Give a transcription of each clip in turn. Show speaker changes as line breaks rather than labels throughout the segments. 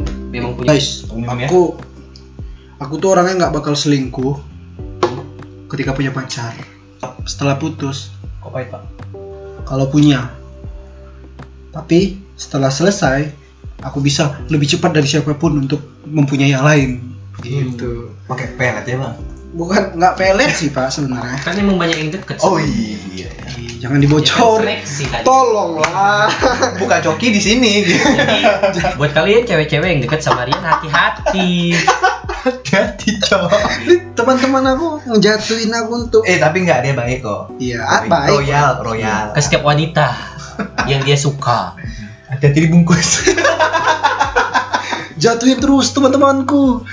punya
guys
pengumuman ya.
aku aku tuh orangnya nggak bakal selingkuh ketika punya pacar setelah putus
Kok pahit pak?
kalau punya tapi setelah selesai aku bisa lebih cepat dari siapapun untuk mempunyai yang lain gitu
Pakai pelet ya bang?
bukan nggak pelet sih pak sebenarnya
kan emang banyak yang deket kan
Oh iya.
Ih, jangan dibocor
seleksi kan. tadi
tolonglah
Buka coki di sini.
Jadi, buat kalian cewek-cewek yang deket sama Rian hati-hati
Hati cowok.
teman-teman aku ngejatuhin aku untuk
Eh tapi nggak dia baik kok.
iya ah, baik
Royal, royal.
ke setiap wanita yang dia suka
Ada diri bungkus.
jatuhin terus teman-temanku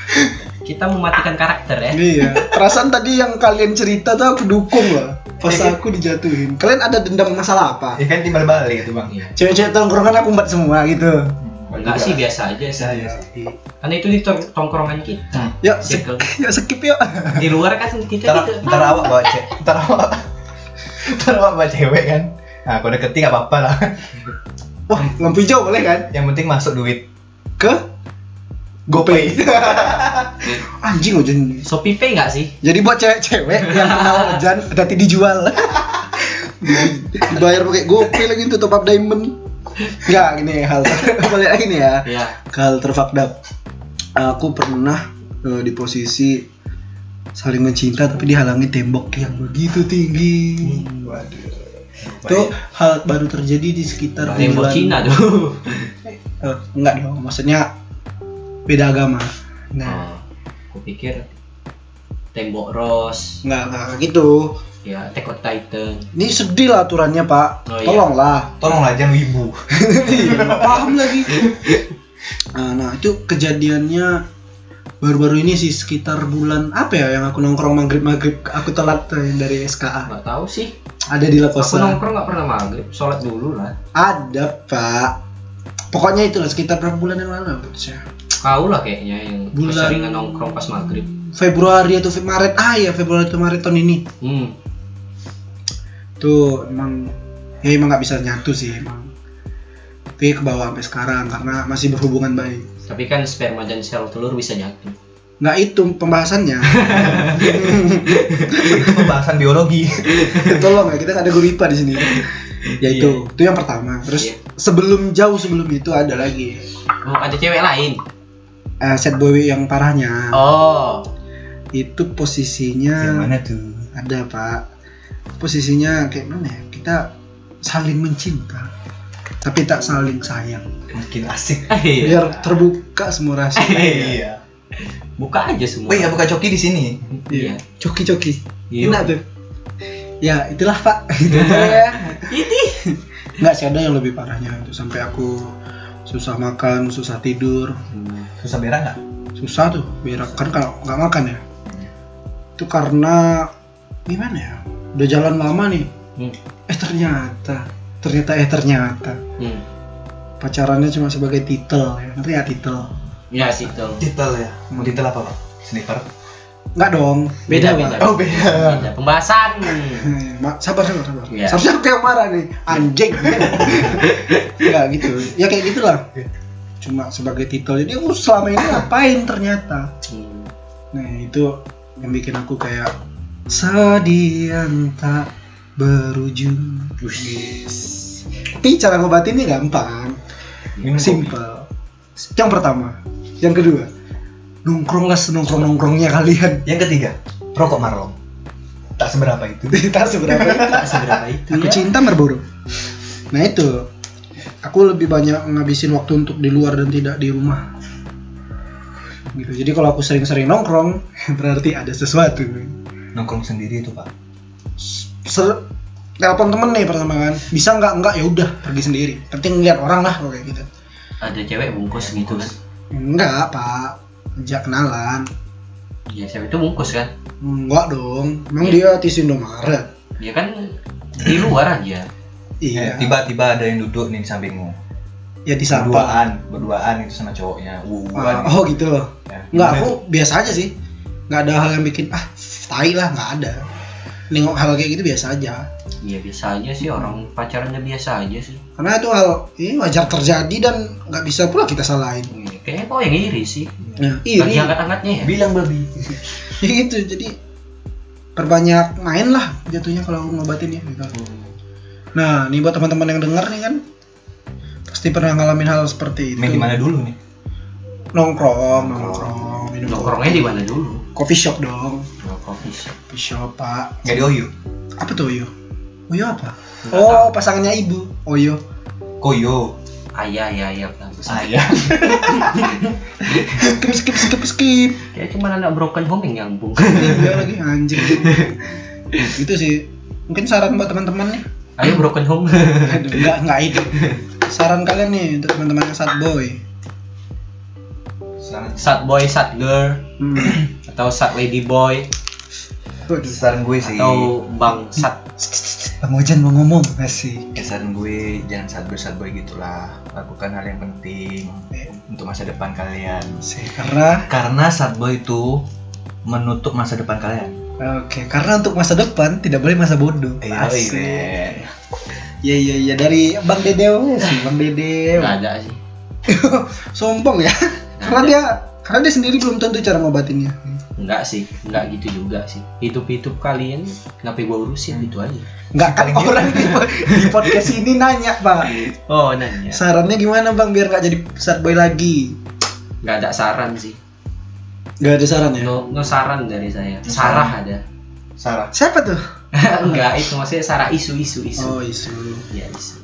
kita mematikan karakter ya
iya perasaan tadi yang kalian cerita tuh aku dukung lah pas aku dijatuhin kalian ada dendam masalah apa
ya kan timbal balik itu bang. Iya.
Iya. cewek-cewek tongkrongan aku empat semua gitu
enggak sih biasa aja
Iya,
sih karena itu di tong- tongkrongan kita
Iya, yuk skip
circle.
yuk skip yuk
di luar kan kita
Hmm. Ntar,
gitu
ntar awak bawa cewek. Ntar awak. Ntar awak bawa cewek kan. Nah, kalau deketin nggak apa-apa lah.
wah lampu hijau boleh kan
Yang penting masuk duit.
ke GoPay anjing ojan
Shopee Pay enggak sih
jadi buat cewek-cewek yang kenal ojan nanti dijual dibayar pakai GoPay lagi tuh top up diamond Enggak, gini hal balik lagi nih ya
ya
Iya.
ke hal terfakdap aku pernah eh, di posisi saling mencinta tapi dihalangi tembok yang begitu tinggi
Waduh.
itu hal baru terjadi di sekitar
tembok
bulan-
Cina tuh
Eh, enggak dong maksudnya beda agama
Oh,
nah
aku pikir tembok Rose
enggak enggak kayak gitu
ya Attack on Titan
ini sedih lah aturannya pak
Oh, iya.
tolonglah
Tolonglah jangan wibu.
Iya, nggak paham lagi nah, nah, itu kejadiannya baru-baru ini sih sekitar bulan apa ya yang aku nongkrong maghrib maghrib aku telat eh, dari SKA
nggak tahu sih
ada di
aku
Leposa
nongkrong nggak pernah maghrib sholat dulu lah
ada pak pokoknya itulah sekitar berapa bulan yang lalu putusnya
kau lah kayaknya yang
Bulan-
keseringan nongkrong pas maghrib
Februari atau Fe- Maret ah ya Februari atau Maret tahun ini
hmm
tuh emang ya emang nggak bisa nyatu sih emang tapi ke bawah sampai sekarang karena masih berhubungan baik
tapi kan sperma dan sel telur bisa nyatu
nggak itu pembahasannya
Itu pembahasan biologi.
tolong ya kita nggak ada guru IPA di sini ya itu itu yang pertama terus
Iya.
sebelum jauh sebelum itu ada lagi
oh, ada cewek lain
eh, set boy yang parahnya
oh
itu posisinya
Yang mana tuh?
ada pak posisinya kayak mana ya kita saling mencinta tapi tak saling sayang
Makin asik.
iya.
biar terbuka semua rahasia
Iya.
buka aja
Oh,
semua
Wih, nggak buka coki di sini.
iya
Iya. Coki coki.
Iya.
Enak tuh. Ya itulah pak. Itu ya.
ini
Nggak sih ada yang lebih parahnya itu sampai aku susah makan, susah tidur,
Hmm.
Susah berak nggak?
susah tuh berak kan kalau nggak makan ya. Itu karena gimana ya? Udah jalan lama nih.
Hmm.
Eh ternyata, ternyata eh ternyata
hmm.
pacarannya cuma sebagai titel ya. Ngerti ya titel?
ya sih itu
Detail ya. Mau detail apa, Pak? Sniper.
Nggak dong.
Beda,
Pak.
beda.
Iya.
Oh, beda.
Ada pembahasan
Eh, Ma, sabar sabar sabar.
Iya.
Seharusnya aku yang marah nih, anjing. Enggak gitu. Ya kayak gitulah. Cuma sebagai titel. Jadi aku selama ini ngapain ternyata.
Hmm.
Nah, itu yang bikin aku kayak sedian tak berujung. Tapi cara ngobatinnya gampang,
Minum kopi.
simple. Yang pertama, yang kedua, nongkrong lah senongkrong nongkrongnya kalian.
Yang ketiga, rokok Marlboro. Tak seberapa itu.
Kita seberapa?
Tak seberapa itu
Iya. Aku
ya.
cinta berburu. Nah itu, aku lebih banyak ngabisin waktu untuk di luar dan tidak di rumah. Gitu. Jadi kalau aku sering-sering nongkrong, berarti ada sesuatu.
Nongkrong sendiri itu, Pak.
Ser telepon temen nih pertama kan, bisa nggak nggak ya udah pergi sendiri. Penting lihat orang lah kalau kayak gitu.
ada cewek
Ya,
bungkus gitu kan
Enggak pak, ajak kenalan.
iya cewek itu bungkus kan
Enggak dong, emang dia tisu Indomaret.
dia kan di luar aja
Iya,
Eh, Tiba-tiba ada yang duduk nih di sampingmu.
ya disapa.
Berduaan, berduaan itu sama cowoknya. Wuan.
Ah, oh gitu.
Ya.
Nggak, aku biasa aja sih. Nggak ada hal yang bikin ah tai lah nggak ada. nengok hal kayak gitu biasa aja
Iya biasa aja sih orang pacarannya biasa aja sih.
karena itu hal ini wajar terjadi dan nggak bisa pula kita salahin
Iya, Kayaknya kok yang iri sih.
nah,
Iri.
iri
Angkat-angkatnya ya.
Bilang babi.
Ya gitu jadi perbanyak main lah jatuhnya kalau ngobatin ya gitu. nah ini buat teman-teman yang denger nih kan pasti pernah ngalamin hal seperti itu
Main di mana dulu nih?
nongkrong nongkrong minum
Nongkrongnya di mana dulu?
coffee shop dong
Nongkrong Coffee shop.
coffee shop pak
Gak di Oyo.
apa tuh oyo oyo apa oh pasangannya ibu oyo
Koyo.
Ayah, ayah, ayah. bagus.
Saya.
skip skip skip skip
Kayaknya cuma anak broken home yang nyambung.
Iya lagi anjing gitu sih mungkin saran buat teman-teman nih
Ayo broken home.
Aduh, nggak nggak itu saran kalian nih untuk teman-teman yang sad boy
Saran-
sad boy, sad girl,
hmm.
atau sad lady boy,
Waduh.
Saran gue sih.
atau bang sad.
Bang Ojan mau ngomong masih.
Ya, saran gue jangan sad boy sad boy gitulah. Lakukan hal yang penting untuk masa depan kalian.
Karena
Karena sad boy itu menutup masa depan kalian.
oke, karena untuk masa depan tidak boleh masa bodoh. Asik.
iya.
Iya iya iya dari Bang Dede weh sih, Iya, Bang Dede.
Gak ada sih.
Sombong ya.
Nah,
Karena dia karena dia sendiri belum tentu cara ngobatinnya.
Enggak sih, enggak gitu juga sih. Hidup-hidup kalian kenapa gua urusin gitu aja.
Enggak kan
Paling dia-
orang di, di podcast ini nanya, Pak.
Oh,
iya.
nanya.
Sarannya gimana, Bang, biar nggak jadi sad boy lagi?
Enggak ada saran sih.
Gak ada saran ya?
No, no saran dari saya. Sarah ada.
Sarah.
Siapa tuh?
enggak, itu maksudnya sarah isu-isu isu.
Oh, isu.
Iya, isu.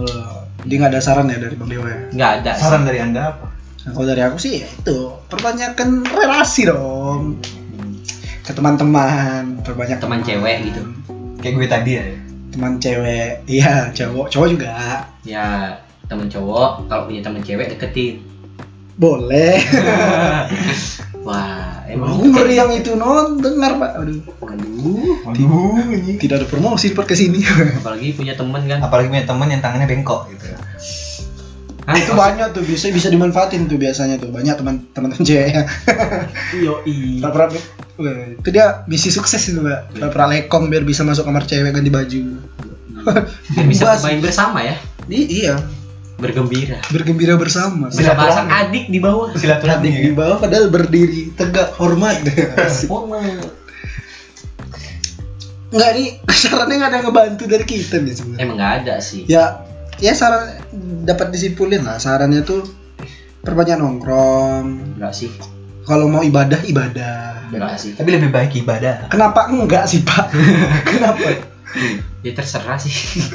Oh, dia nggak ada saran ya dari Bang Dewa ya?
Enggak ada sih.
Saran dari anda apa?
Nah, kalau dari aku sih ya itu perbanyakan relasi dong
Hmm.
ke teman-teman, perbanyak
Iya. Teman cewek gitu.
Kayak gue tadi ya.
Teman cewek, iya cowok, cowok juga
Ya, temen cowok kalau punya temen cewek deketin.
boleh.
Wah, emang
Umur yang itu non dengar pak, aduh
Aduh.
Aduh, ini.
tidak ada promosi di podcast ini.
Apalagi punya temen kan.
Apalagi punya teman yang tangannya bengkok gitu.
Hah,
Nah, itu banyak tuh bisa bisa dimanfaatin tuh biasanya tuh banyak teman teman cewek ya.
Yoi.
Pernah- pernah- Weh, itu dia misi sukses itu pak. Pernah- Pernah lekong biar bisa masuk kamar cewek ganti baju.
Biar bisa
Bas.
main bersama ya,
I- iya
bergembira.
bergembira bersama.
Bisa
ya.
bahasa
Silaturahmi.
adik di bawah.
Silaturahmi
Di
gitu.
bawah padahal berdiri tegak hormat.
Formal.
Enggak nih, sarannya nggak ada yang ngebantu dari kita nih sebenarnya.
Emang nggak ada sih.
Ya, ya saran dapat disimpulin lah. Sarannya tuh perbanyak nongkrong.
Enggak sih.
Kalau mau ibadah ibadah.
Enggak sih.
Tapi lebih baik ibadah.
Kenapa enggak sih Pak? Kenapa?
Ya terserah sih.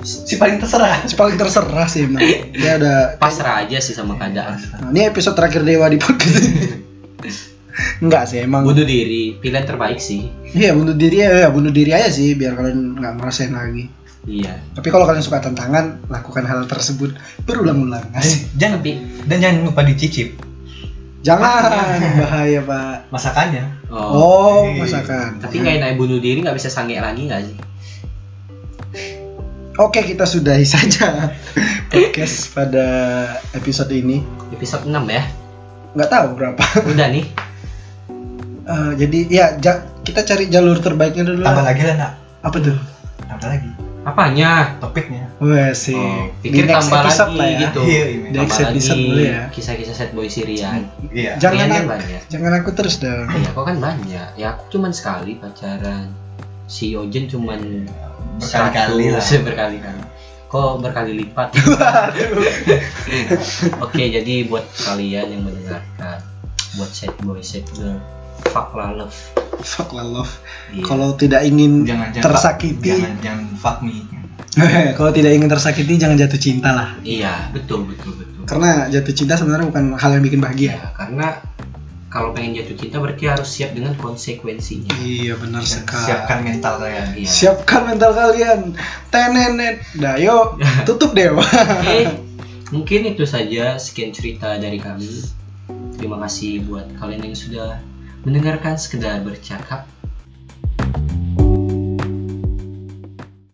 Si paling terserah.
Si Paling terserah sih emang. Dia ada.
Pasrah aja sih sama keadaan.
Nah, ini episode terakhir Dewa di podcast ini. Enggak sih emang.
Bunuh diri, pilihan terbaik sih.
Iya bunuh diri ya, bunuh diri aja sih biar kalian nggak ngerasain lagi.
Iya.
Tapi kalau kalian suka tantangan, lakukan hal tersebut berulang-ulang.
Eh.
Asik.
Jangan
Tapi
dan jangan lupa dicicip
Jangan bahaya Pak.
masakannya.
oh.
Oh,
Oke.
masakan.
Tapi nggak enak bunuh diri nggak bisa sange lagi nggak sih?
Oke, kita sudahi saja podcast pada episode ini.
Episode 6 ya.
Nggak tahu berapa.
Udah nih.
Eh, jadi ya ja- kita cari jalur terbaiknya dulu. Lah.
Tambah lagi lah nak.
Apa tuh?
Tambah lagi
Apanya?
topiknya.
Wah sih.
Oh,
Di
pikir
next
tambah
episode
lagi
lah ya.
gitu.
Iya,
Di
iya.
Tambah
next episode dulu ya.
Kisah-kisah sad boy Sirian.
Iya.
Jangan
Siriannya
aku,
banyak.
jangan aku terus dong.
Iya, kok kan banyak. Ya aku cuman sekali pacaran. Si Ojen cuman
Berkali-kali lah.
100, Berkali-kali. Kok berkali lipat? Oke, jadi buat kalian yang mendengarkan, buat set boy, set girl, fuck lah love.
Fuck lah love.
Iya.
Kalau tidak ingin
Jangan jangan
tersakiti,
Jangan jangan fuck me.
kalau tidak ingin tersakiti jangan jatuh cinta lah.
Iya, betul betul betul.
Karena jatuh cinta sebenarnya bukan hal yang bikin bahagia.
Iya, karena kalau pengen jatuh cinta berarti harus siap dengan konsekuensinya.
Iya benar
Dan
sekali.
Siapkan mental kalian.
Iya.
Siapkan mental kalian. Tenenet. Dayo, tutup dewa.
Oke, mungkin itu saja sekian cerita dari kami. Terima kasih buat kalian yang sudah mendengarkan sekedar bercakap.